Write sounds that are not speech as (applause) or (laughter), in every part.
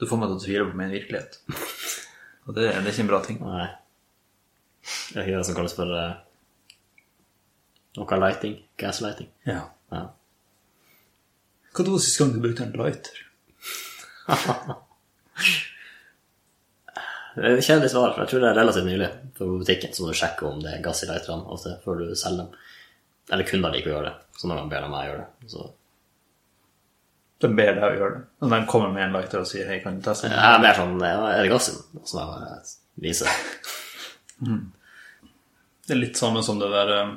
Du får meg til å tvile på min virkelighet. Og det, det er ikke en bra ting. Nei. Det er ikke det som kalles for eh, noe lighting. Gaslighting. Ja. Ja. Hva var sist gang du brukte en lighter? Det er et Kjedelig svar. for Jeg tror det er relativt nylig. For på butikken så må du sjekke om det er gass i lighterne ofte før du selger dem. Eller kunder liker å gjøre det. Så når de ber om meg gjøre det, så De ber deg å gjøre det. Når de kommer med en lighter og sier 'hei, kan du teste den?' Jeg er mer sånn ja, Er det gass i den? Så jeg viser Det er litt samme som det der eh,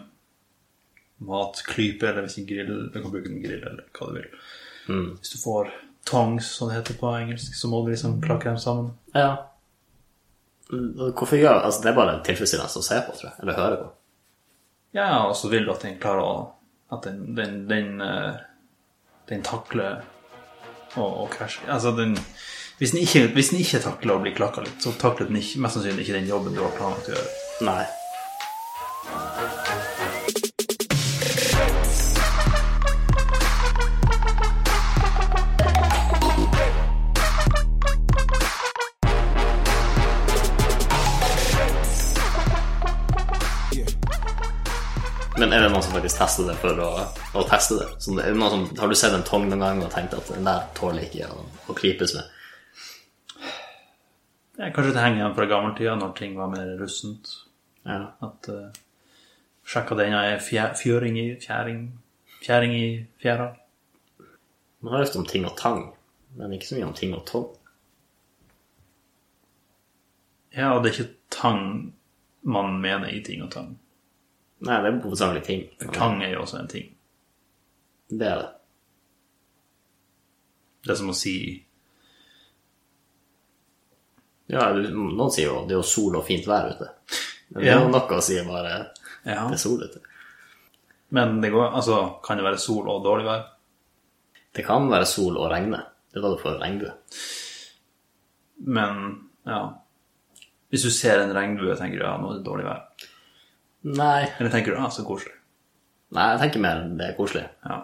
matklype, eller hvis ikke grill Du kan bruke en grill eller hva du vil. Hvis du får tongs, som det heter på engelsk, så må du liksom klakke dem sammen. Ja. Hvorfor gjør Altså, det er bare tilfredsstillende å se på, tror jeg. Eller høre på. Ja, og så vil du at den klarer å At den Den, den, eh, den takler å, å krasje Altså, den hvis den, ikke, hvis den ikke takler å bli klakka litt, så takler den ikke, mest sannsynlig ikke den jobben du har planlagt å gjøre. Nei. Men er det noen som faktisk tester det for å, å teste det? Som det er noen som, har du sett en tong noen gang og tenkt at den der tåler ikke å, å klypes med? Ja, kanskje det henger igjen fra gammeltida, når ting var mer russent. Ja. At uh, sjekka den er fjæ- fjøring i fjæring Fjæring i fjæra. Man har ofte om ting og tang, men ikke så mye om ting og tong. Ja, og det er ikke tang man mener i ting og tang. Nei, det er hovedsakelig ting. Tang er jo også en ting. Det er det. Det er som å si Ja, du- noen sier jo det er jo sol og fint vær ute. Men det Ja. er jo noe å si bare ja. det er sol ute. Men det går, altså, kan det være sol og dårlig vær? Det kan være sol og regne. Det er da du får regnbue. Men ja Hvis du ser en regnbue, tenker du ja, nå er det dårlig vær. Nei. Eller tenker du ja, så koselig. Nei, jeg tenker mer det er koselig. Ja.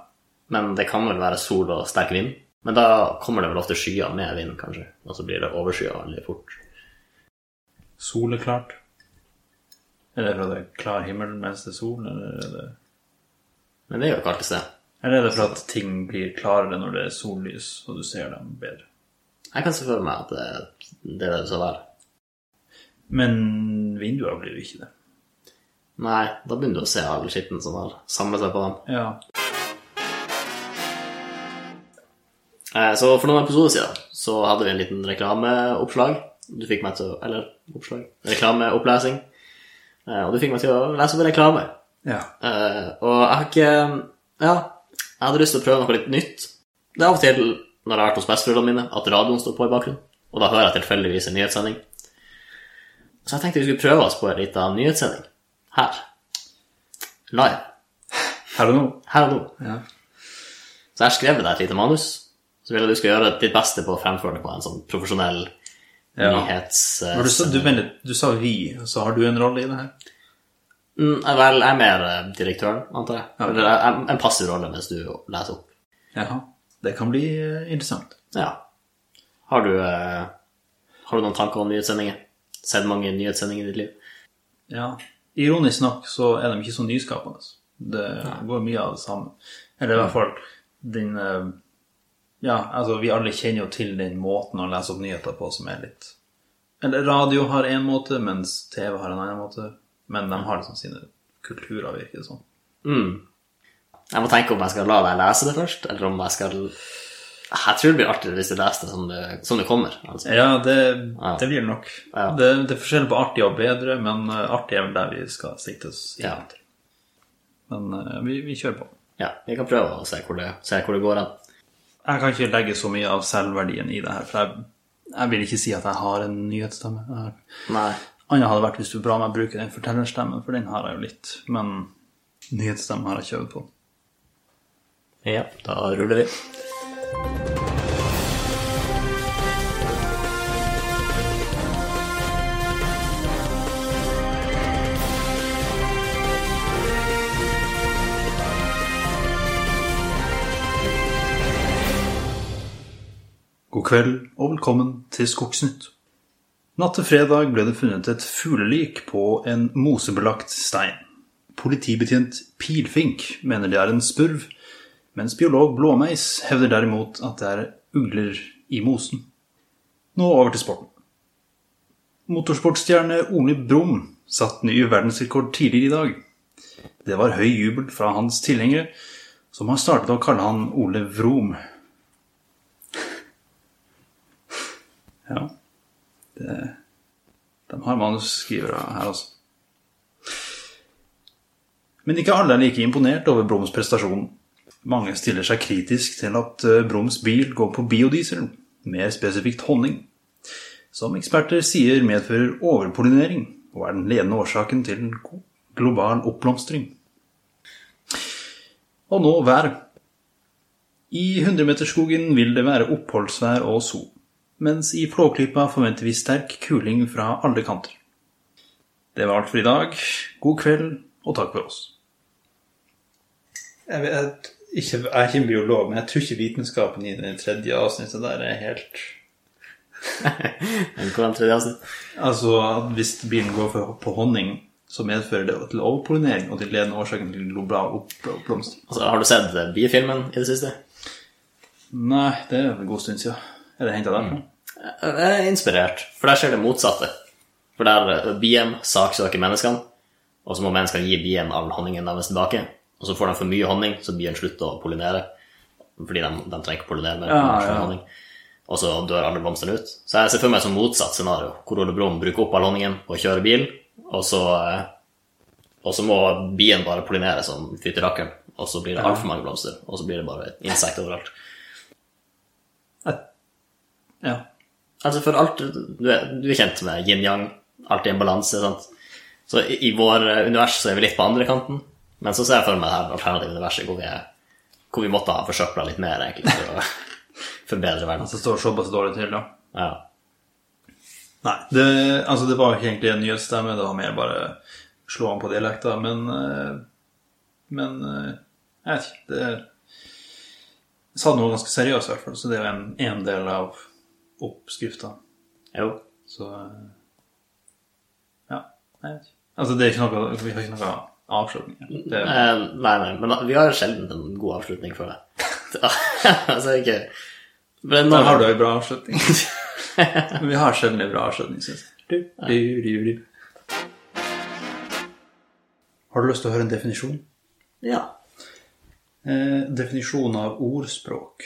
Men det kan vel være sol og sterk vind. Men da kommer det vel ofte skyer med vind, kanskje. Og så blir det overskya veldig fort. Sol er klart. Er det fordi det er klar himmel mens det er sol, eller er det Men det er jo ikke alltid det. Eller er det fordi at ting blir klarere når det er sollys, og du ser dem bedre? Jeg kan se for meg at det, det er det det skal være. Men vinduer blir jo ikke det. Nei, da begynner du å se all skitten som har samlet seg på dem. Ja. Eh, Så for noen episoder siden så hadde vi en liten reklameoppslag. Du fikk meg til å Eller oppslag? Reklameopplesing. Eh, Og du fikk meg til å lese opp en reklame. ja. Eh, Og jeg har ikke Ja, jeg hadde lyst til å prøve noe litt nytt. Det er av og til når jeg har vært hos besteforeldrene mine, at radioen står på i bakgrunnen. Og da hører jeg tilfeldigvis en nyhetssending. Så jeg tenkte vi skulle prøve oss på en liten nyhetssending. Her. Live. Her og nå. Her og nå. Ja. Så jeg har skrevet deg et lite manus. Så vil jeg du skal gjøre ditt beste på å fremføre det på en sånn profesjonell Ja. nyhets... eh, Når du, sa, du, mener, du sa 'vi', så har du en rolle i det her? Mm, vel, jeg er mer eh, direktøren, antar jeg. Eller jeg- jeg- en passiv rolle mens du leser opp. Jaha. Det kan bli eh, interessant. Ja. Har du, eh, har du noen tanker om nyhetssendinger? Sett mange nyhetssendinger i ditt liv? Ja. Ironisk nok så er de ikke så nyskapende. Det går mye av det samme. Eller i hvert fall den eh, Ja, altså, vi alle kjenner jo til den måten å lese opp nyheter på som er litt Eller radio har én måte, mens TV har en annen måte. Men de har liksom sine kulturer, virker det som. Mm. Jeg må tenke om jeg skal la deg lese det først, eller om jeg skal Jeg tror det blir artigere hvis du leser det som det, som det kommer. Altså. Ja, det, Ja. det blir det nok. Ja. Det, det er forskjell på artig og bedre, men eh, artig er vel der vi skal sikte oss inn Ja. til. Men eh, vi, vi kjører på. Ja, vi kan prøve å se hvor det, se hvor det går hen. Jeg kan ikke legge så mye av selvverdien i det her, for jeg, jeg vil ikke si at jeg har en nyhetsstemme. Jeg- Nei. Annet hadde vært hvis du ba meg bruke den fortellerstemmen, for den har jeg jo litt. Men nyhetsstemme har jeg ikke øvd på. Ja, da ruller vi. God God kveld og velkommen til Skogsnytt. Natt til fredag ble det funnet et fuglelik på en mosebelagt stein. Politibetjent Pilfink mener det er en spurv, mens biolog Blåmeis hevder derimot at det er ugler i mosen. Nå over til sporten. Motorsportstjerne Ole Brumm satte ny verdensrekord tidligere i dag. Det var høy jubel fra hans tilhengere, som har startet å kalle han Ole Vrom. Ja. Det, de har manusskrivere her, altså. Men ikke alle er like imponert over Brums prestasjon. Mange stiller seg kritisk til at eh, Brums bil går på biodiesel, mer spesifikt honning, som eksperter sier medfører overpollinering og er den ledende årsaken til en go- global oppblomstring. Og nå været. I 100-meterskogen vil det være oppholdsvær og sol, mens i Flåklypa forventer vi sterk kuling fra alle kanter. Det var alt for i dag. God kveld, og takk for oss. Jeg, vet, jeg, ikke, jeg er ikke en biolog, men jeg tror ikke vitenskapen i det tredje avsnittet der er helt Men hvordan tredje avsnitt? Altså at hvis bilen går for, på honning, så medfører det til overpollinering og til ledende årsaken til global opp- oppblomstring. Altså, har du sett eh, bifilmen i det siste? Nei, det er en god stund siden. Er det henta derfra? Jeg er inspirert, for der skjer det motsatte. For der eh, bien saksøker menneskene, og så må menneskene gi bien all honningen deres tilbake. Og så får de for mye honning, så bien slutter å pollinere. Fordi de, de trenger ikke pollinere mer. Ja, for de får ja. honning. Og så dør alle blomstene ut. Så jeg ser for meg et sånt motsatt scenario, hvor Ole Brumm bruker opp all honningen og kjører bil, og så, eh, og så må bien bare pollinere som fytterakkeren. Og så blir det altfor mange blomster, og så blir det bare insekter overalt. Ja. Altså for alt, du er, du er kjent med yin-yang, alt i en balanse, sant? Så i, i vår eh, univers så er vi litt på andre kanten, men så ser jeg for meg det her alternative universet hvor vi, er, hvor vi måtte ha forsøpla litt mer, egentlig, for å (laughs) forbedre verden. At det står såpass dårlig til, da. Ja. Nei, det, altså det var ikke egentlig en nyhetsstemme, det var mer bare slå an på dialekta, men eh, Men eh, jeg vet ikke. Det Jeg sa noe ganske seriøst, i hvert fall, så det er jo en, en del av oppskrifta. Jo. Så eh, Ja, jeg vet ikke. Altså, det er ikke noe Vi har ikke noe avslutning. Det, Eh, nei, nei, men vi har sjelden en god avslutning for det. (laughs) altså, ikke men da når, har du ei bra avslutning. (laughs) Men vi har sjelden ei bra avslutning, syns jeg. Du, du, du, du. Har du lyst til å høre en definisjon? Ja. Eh, definisjon av ordspråk.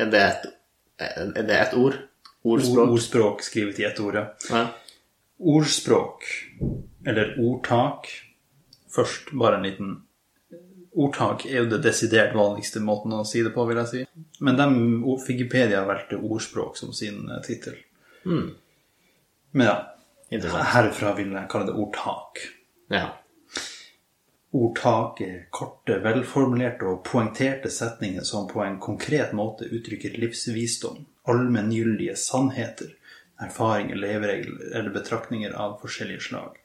Er det et, er det et ord? Ordspråk. Ordspråk? ordspråk skrevet i ett ord, ja. Ja. Ordspråk, eller ordtak Først bare en liten Ordtak er jo det desidert vanligste måten å si det på, vil jeg si. Men dem, Wikipedia valgte ordspråk som sin eh, tittel. Men ja, Interessant. herfra vil jeg kalle det ordtak. Ja. Ordtak er korte, velformulerte og poengterte setninger som på en konkret måte uttrykker livsvisdom, allmenngyldige sannheter, erfaringer, leveregler eller betraktninger av forskjellige slag.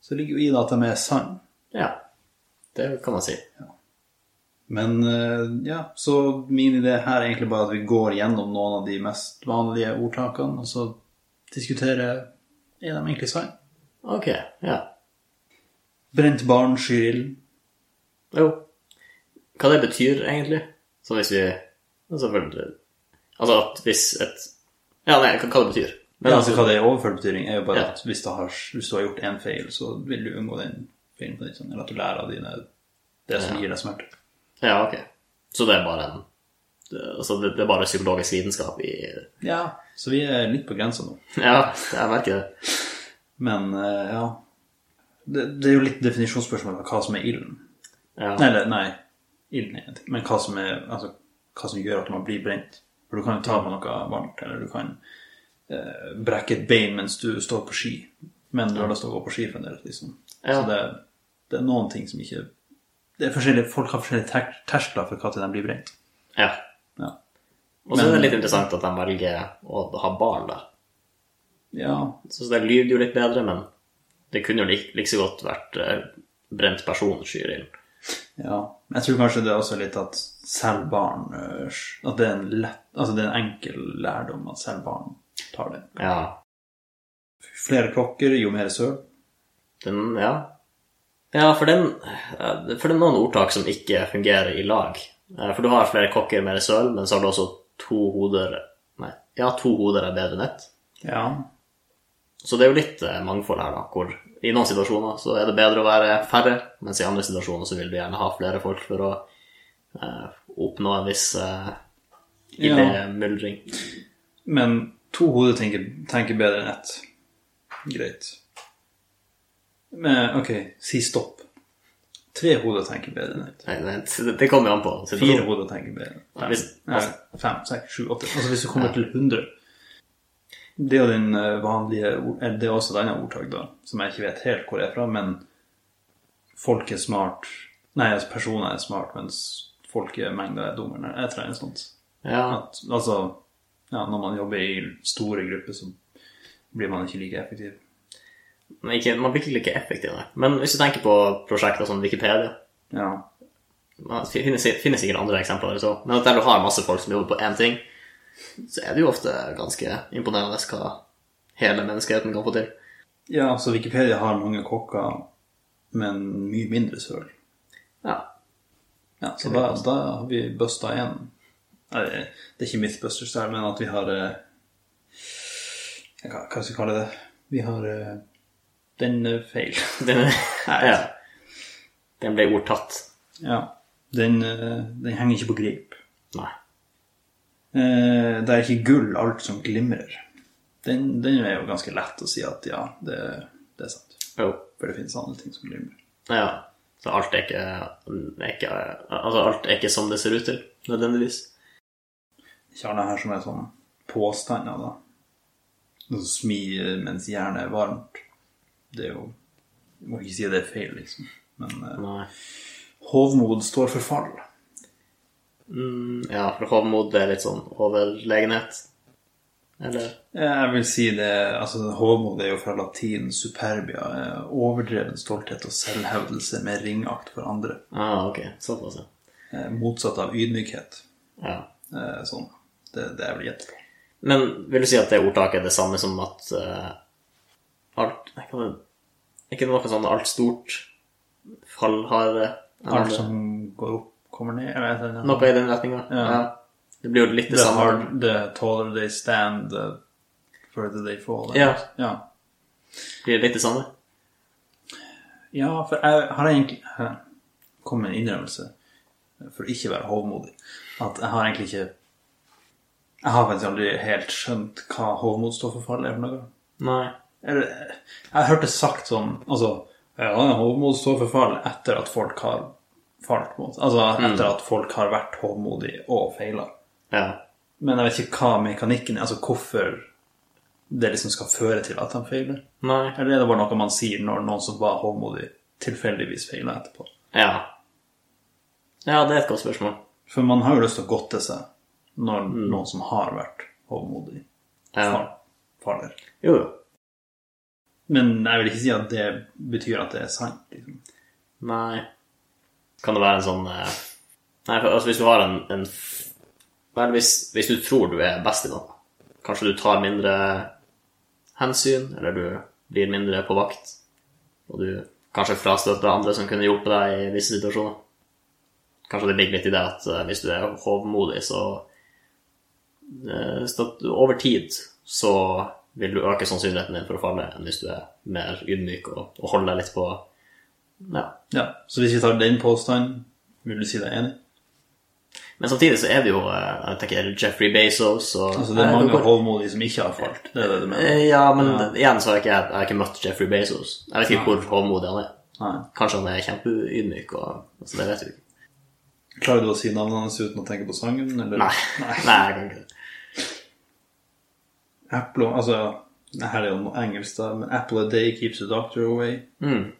Så ligger jo i det at de er sann. ja. Det kan man si. Men eh, ja, så min idé her er egentlig bare at vi går gjennom noen av de mest vanlige ordtakene, og så diskuterer er de egentlig sann. Ok, ja. Brent barn skyr ilden. Jo. Hva det betyr, egentlig? Så hvis vi Selvfølgelig. Altså at hvis et Ja, nei, hva hva det betyr. Men Men altså, altså, hva det er i overført betydning, er jo bare Ja. at hvis du, har, hvis du har gjort én feil, så vil du unngå den feilen på nytt. sånn, Eller at du lærer av dine det som gir deg smerte. Ja, ok. Så det er bare en det- Altså det, det er bare psykologisk vitenskap i Ja, så vi er litt på grensa nå. Ja, jeg merker det. Men eh, ja det, det er jo litt definisjonsspørsmål av hva som er ilden. Ja. Nei, eller nei, ilden er en ting, men hva som, er, altså, hva som gjør at man blir brent. For du kan jo ta på noe varmt, eller du kan eh, brekke et bein mens du står på ski. Men du har lyst til å gå på ski fremdeles, liksom. Ja. Så det, det er noen ting som ikke det er forskjellige, Folk har forskjellige ter terskler for når de blir brent. ja. Ja. Og så er det Men- litt interessant at de velger å ha barn, da. ja. Så det lyder jo litt bedre, men det kunne jo like, like så godt vært eh, brent person skyr ild. Ja. Men jeg tror kanskje det er også litt at selv barn eh, At det er en lett Altså det er en enkel lærdom at selv barn tar det. Ja. Flere klokker, jo mer søl. Den, ja. Ja, for den eh, For det er noen ordtak som ikke fungerer i lag. Eh, For du har flere kokker, mer søl, men så har du også to hoder Nei, ja, to hoder er bedre enn ett. Ja. Så det er jo litt eh, mangfold her, da, hvor i noen situasjoner så er det bedre å være færre, mens i andre situasjoner så vil du gjerne ha flere folk for å eh, oppnå en viss eh, idémyldring. Men to hoder tenker, tenker bedre enn ett. Greit. Men OK, si stopp. Tre hoder tenker bedre enn ett. Nei, Det, det kommer jo an på. Fire situasjonen. hoder tenker bedre. Ja, hvis- Nei, altså, fem, seks, sju, åtte. Altså hvis du kommer til 100 Det er jo den eh, vanlige ord- eh, Det er også et annet ordtak, da, som jeg ikke vet helt hvor er fra, men folk er smart Nei, altså personer er smart, mens folkemengder er dummere. Nei, Jeg tror det er noe sånt. Ja, At, altså ja, Når man jobber i store grupper, så blir man ikke like effektiv. men ikke, man blir ikke like effektiv, nei. Men hvis du tenker på prosjekter som Wikipedia Ja. Man finnes, finnes sikkert andre eksempler, eller så. men at der du har masse folk som jobber på én ting, så er det jo ofte ganske imponerende hva hele menneskeheten kan få til. ja, så Wikipedia har mange kokker, men mye mindre søl. Ja, Ja, så da, da har vi busta igjen. Nei, Det er ikke Mythbusters her, men at vi har eh, Hva hva skal vi kalle det? Vi har eh, Den er feil. Den, (laughs) ja. den ble ordtatt. Ja. Den, eh, den henger ikke på grip. Nei. Eh, Det er ikke gull alt som glimrer. Den, den er jo ganske lett å si at ja, det, det er sant. Jo. For det finnes andre ting som glimrer. Ja. Så alt er ikke, er ikke Altså, alt er ikke som det ser ut til, nødvendigvis. Ikke alle her som er sånn påstander, da. Noe som smir mens jernet er varmt. Det er jo Jeg må ikke si det er feil, liksom. Men eh, Nei. hovmod står for fall. Mm, ja, for hovmod er litt sånn overlegenhet. Eller Eh, Jeg vil si det Altså, hovmod er jo fra latin superbia. eh, Overdreven stolthet og selvhevdelse med ringakt for andre. Ah, ok. Såpass, ja. Eh, Motsatt av ydmykhet. ja. Eh, Sånn. Det, det er vel gjett. Men vil du si at det ordtaket er det samme som at eh, alt Er ikke det- er ikke det noe sånn alt stort fall har eh, en Alt andre- som går opp, kommer ned. Eller et eller annet. Noe i den retninga? Ja. Det blir jo litt det The samme. hard, the taller they stand, the further they fall. Ja. ja. Blir det litt det samme? Ja, for jeg har egentlig jeg kom med en innrømmelse for å ikke være hovmodig. At jeg har egentlig ikke Jeg har faktisk aldri helt skjønt hva hovmod står for fall er for noe. Nei. Eller, jeg har hørt det sagt sånn Altså, ja, hovmod står for fall etter at folk har falt mot Altså etter at folk har vært hovmodige og feila. Ja. Men jeg vet ikke hva mekanikken er, altså hvorfor det liksom skal føre til at han feiler. Nei. Eller er det bare noe man sier når noen som var håndmodig, tilfeldigvis feiler etterpå? Ja. Ja, det er et godt spørsmål. For man har jo lyst til å godte seg når noen som har vært håndmodig, Mm. Ja. fal- faller. Jo, jo. Men jeg vil ikke si at det betyr at det er sant. Liksom. Nei. Kan det være en sånn eh, Nei, for, altså hvis du har en, en f- Vel, hvis, hvis du tror du er best i noe, kanskje du tar mindre hensyn, eller du blir mindre på vakt, og du kanskje frastøter andre som kunne hjulpet deg i visse situasjoner. Kanskje det ligger litt i det at eh, hvis du er hovmodig, så eh, stå- Over tid så vil du øke sannsynligheten din for å falle enn hvis du er mer ydmyk og, og holder deg litt på ja, Ja, Så hvis vi tar den påstanden, vil du si deg enig? Men samtidig så er det jo eh, jeg tenker Jeffrey Bezos og Altså det er mange håndmodige som ikke har falt, det er det du mener? Eh, Ja, men igjen så har jeg ikke, jeg har ikke møtt Jeffrey Bezos. Jeg vet ikke hvor håndmodig han er. Nei. Kanskje han er kjempeydmyk, og altså, det vet vi ikke. Klarer du å si navnet hans uten å tenke på sangen, eller? Nei. (laughs) Nei, jeg kan ikke det. Apple, altså det Her er jo noe engelsk, da, men 'Apple a day keeps the doctor away'. Mm.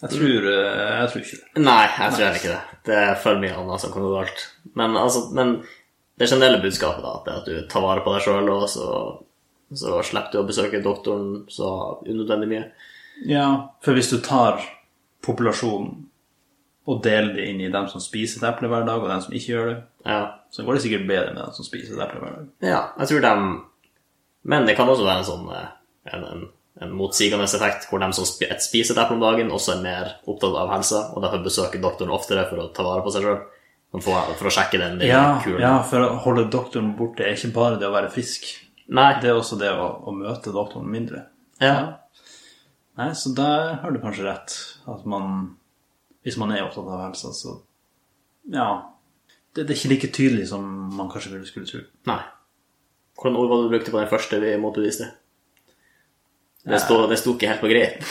Jeg tror, eh, jeg tror ikke det. Nei, jeg tror heller ikke det. Det er for mye annet som kommer galt. Men, altså, men det generelle budskapet da, at det er at du tar vare på deg sjøl, og så, så slipper du å besøke doktoren så unødvendig mye. Ja, For hvis du tar populasjonen og dele det inn i dem som spiser et eple hver dag, og dem som ikke gjør det. Ja. Så går det sikkert bedre med dem som spiser et eple hver dag. ja, jeg tror de Men det kan også være en sånn eh, en, en, en motsigende effekt, hvor de som spi- et spiser et eple om dagen, også er mer opptatt av helsa, og derfor besøker doktoren oftere for å ta vare på seg sjøl. For, for å sjekke den lille Ja, kulen. ja, for å holde doktoren borte er ikke bare det å være frisk. Nei, Det er også det å, å møte doktoren mindre. ja. Nei, så der har du kanskje rett. At man Hvis man er opptatt av helsa, så Ja. Det, det er ikke like tydelig som man kanskje ville skulle tro. Nei. Hvordan ord var det du brukte på den første vi motbeviste? Det sto, det sto ikke helt på greit.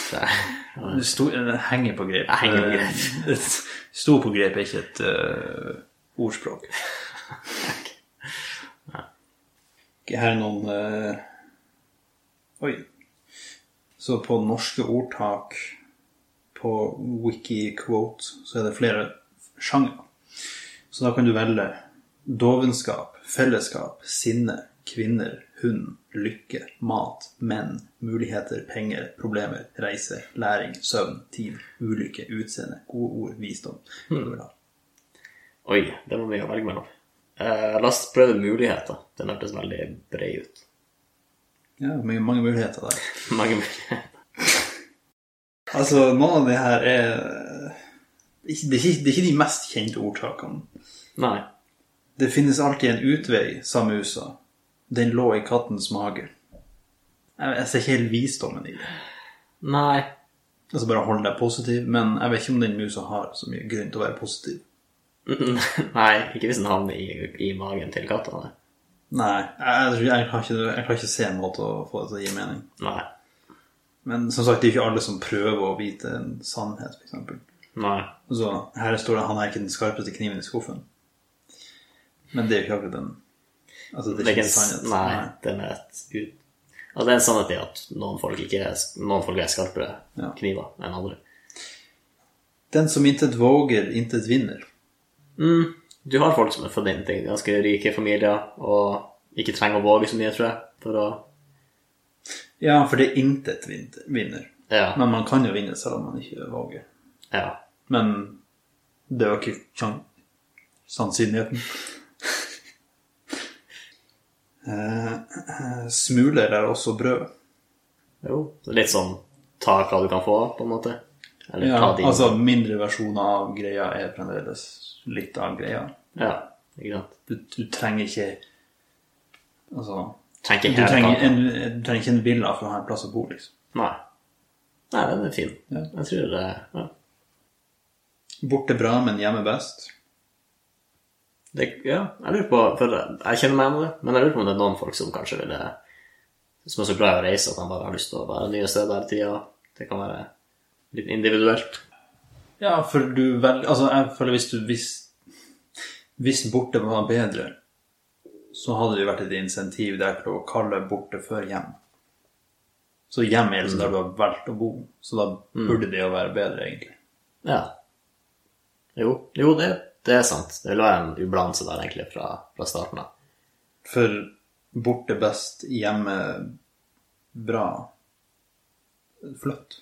Det sto, det henger på grep. Det henger på grep. Sto på grep er ikke et eh, (laughs) ordspråk. Her er noen eh, Oi. Så på norske ordtak på Wikiquote så er det flere sjangre. Så da kan du velge dovenskap, fellesskap, sinne, kvinner, hund, lykke, mat, menn, muligheter, penger, problemer, reise, læring, søvn, tid, ulykke, utseende, gode ord, visdom. Hva du vil ha. Oi, det var mye å velge mellom. Eh, la oss prøve muligheter. Den hørtes veldig bred ut. (laughs) Ja, mange, mange muligheter der. Mange muligheter. Altså, noen av de her er ikke- Det er ikke, det er ikke de mest kjente ordtakene. Nei. Det finnes alltid en utvei, sa musa. Den lå i kattens mage. Jeg, jeg ser ikke helt visdommen i det. Nei. Altså Bare hold deg positiv, men jeg vet ikke om den musa har så mye grunn til å være positiv. Mhm. (laughs) Nei, ikke hvis den havner i, i magen til katta. nei. Nei, jeg, jeg, jeg, klarer ikke, jeg klarer ikke å se en måte å få det til å gi mening. Nei. Men som sagt, det er jo ikke alle som prøver å vite en sannhet, f.eks. Nei. Så her står det 'han er ikke den skarpeste kniven i skuffen'. Men det er jo ikke akkurat den Altså, det Det er er ikke ikke en sannhet. en, nei, den er et ut... Altså, det er en sannhet i at noen folk, ikke er, noen folk er skarpere Ja. kniver enn andre. Den som intet våger, intet vinner. Mm. Du har folk som er født inn til ganske rike familier og ikke trenger å våge så mye, tror jeg, for å Ja, for det er intet vin- vinner. Ja. Men man kan jo vinne selv om man ikke våger. ja. Men det øker sjan- sannsynligheten. Eh, eh, Smuler er også brød. Jo. Litt sånn ta hva du kan få, på en måte. Eller Ja, ta din altså mindre versjoner av greia er fremdeles litt av greia. Ja, ikke sant. Du, du trenger ikke Altså Trenger du ikke hele trenger, kaka. en, du trenger ikke en villa for å ha en plass å bo, liksom. Nei. Nei, den er fin. Ja. Jeg tror det ja. Borte bra, men hjemme best. det ja, jeg lurer på For jeg kjenner meg igjen i det, men jeg lurer på om det er noen folk som kanskje ville Som er så glad i å reise at de bare har lyst til å være nye steder hele tida. Det kan være litt individuelt. Ja, for du velger Altså, jeg føler hvis du hvis, hvis borte var bedre, så hadde det jo vært et insentiv der for å kalle borte før hjem. Så hjem er liksom der du har valgt å bo, så da burde det jo være bedre, egentlig. Ja. Jo, jo det, det er sant. Det vil være en ubalanse der, egentlig, fra, fra starten av. For borte best, hjemme bra Flott.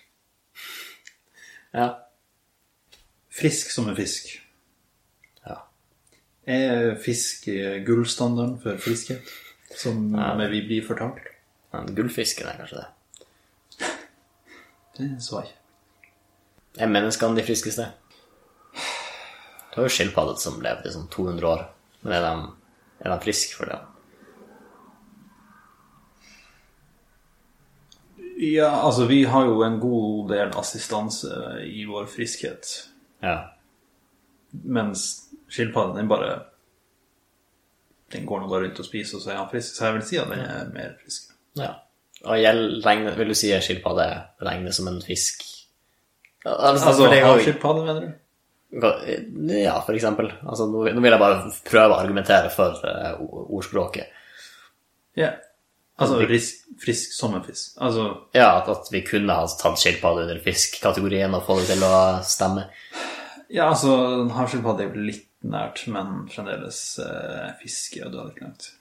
Ja. Frisk som en fisk. ja. Er fisk eh, gullstandarden for friskhet, som eh, vi blir fortalt? En gullfisk er det kanskje det. Det så jeg ikke. Er menneskene de friskeste? Du har jo skilpadder som levde i sånn 200 år. Men er de, er de friske for det? Ja, altså vi har jo en god del assistanse i vår friskhet. Ja. Mens skilpadden den bare Den går nå bare rundt og spiser, og så er han frisk. Så jeg vil si at den er mer frisk. ja. Og gjeld, regner, vil du si at skilpadde regnes som en fisk? Ja, Altså for det er jo- havskilpadde, mener du? Ja, for eksempel. Altså, nå, nå vil jeg bare prøve å argumentere for eh, o- ordspråket. Ja. Altså frisk, frisk som en fisk. Altså Ja, at, at vi kunne ha tatt skilpadde under fisk-kategorien og få det til å stemme. Ja, altså en havskilpadde er jo litt nært, men fremdeles eh, fiske er dødelig langt.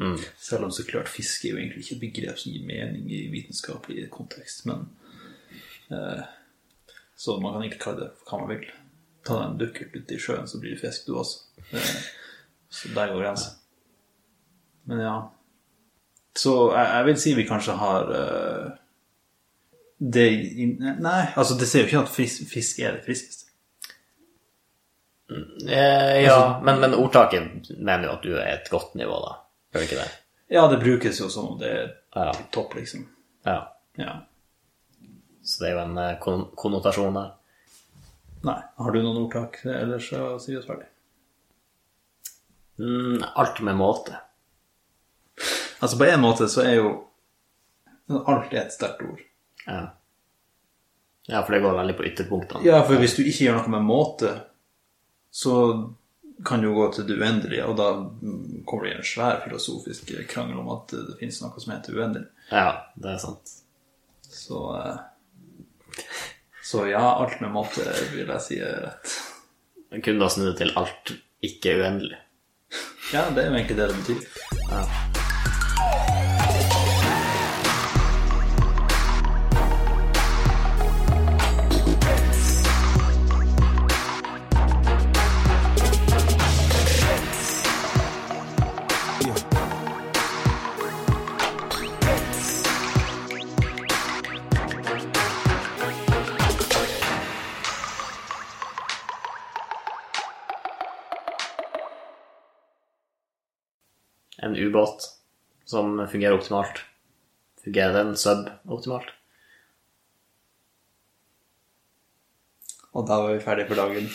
Mm. Selv om så klart fiske er jo egentlig ikke et begrep som gir mening i vitenskapelig kontekst, men eh, Så man kan egentlig kalle det hva man vil. ta deg en dukkert ute i sjøen, så blir det fisk, du også. Eh, Så der går grensa. Men ja. Så jeg, jeg vil si vi kanskje har eh, det i- Nei, altså det sier jo ikke at fisk, fisk er det friskeste. Eh, ja, men, men ordtaket mener jo at du er et godt nivå, da. Gjør det ikke det? Ja, det brukes jo som om det er Ja. til topp, liksom. Ja. Ja. Så det er jo en eh, kon konnotasjon der. Nei. Har du noen ordtak? Ellers så sier vi oss ferdig. Mm, alt med måte. Altså på en måte så er jo alt er et sterkt ord. Ja. ja, for det går veldig på ytterpunktene. Ja, for hvis du ikke gjør noe med måte, så kan du jo gå til det uendelige, og da mm, kommer det i en svær filosofisk krangel om at det finnes noe som heter uendelig. ja det er sant. Så, eh, så ja, alt med måte vil jeg si er rett. Jeg kunne da snu det til alt ikke uendelig. Ja, det er jo egentlig det det betyr. Ja. En ubåt som fungerer optimalt. Fungerer den sub-optimalt? Og da var vi ferdige for dagen.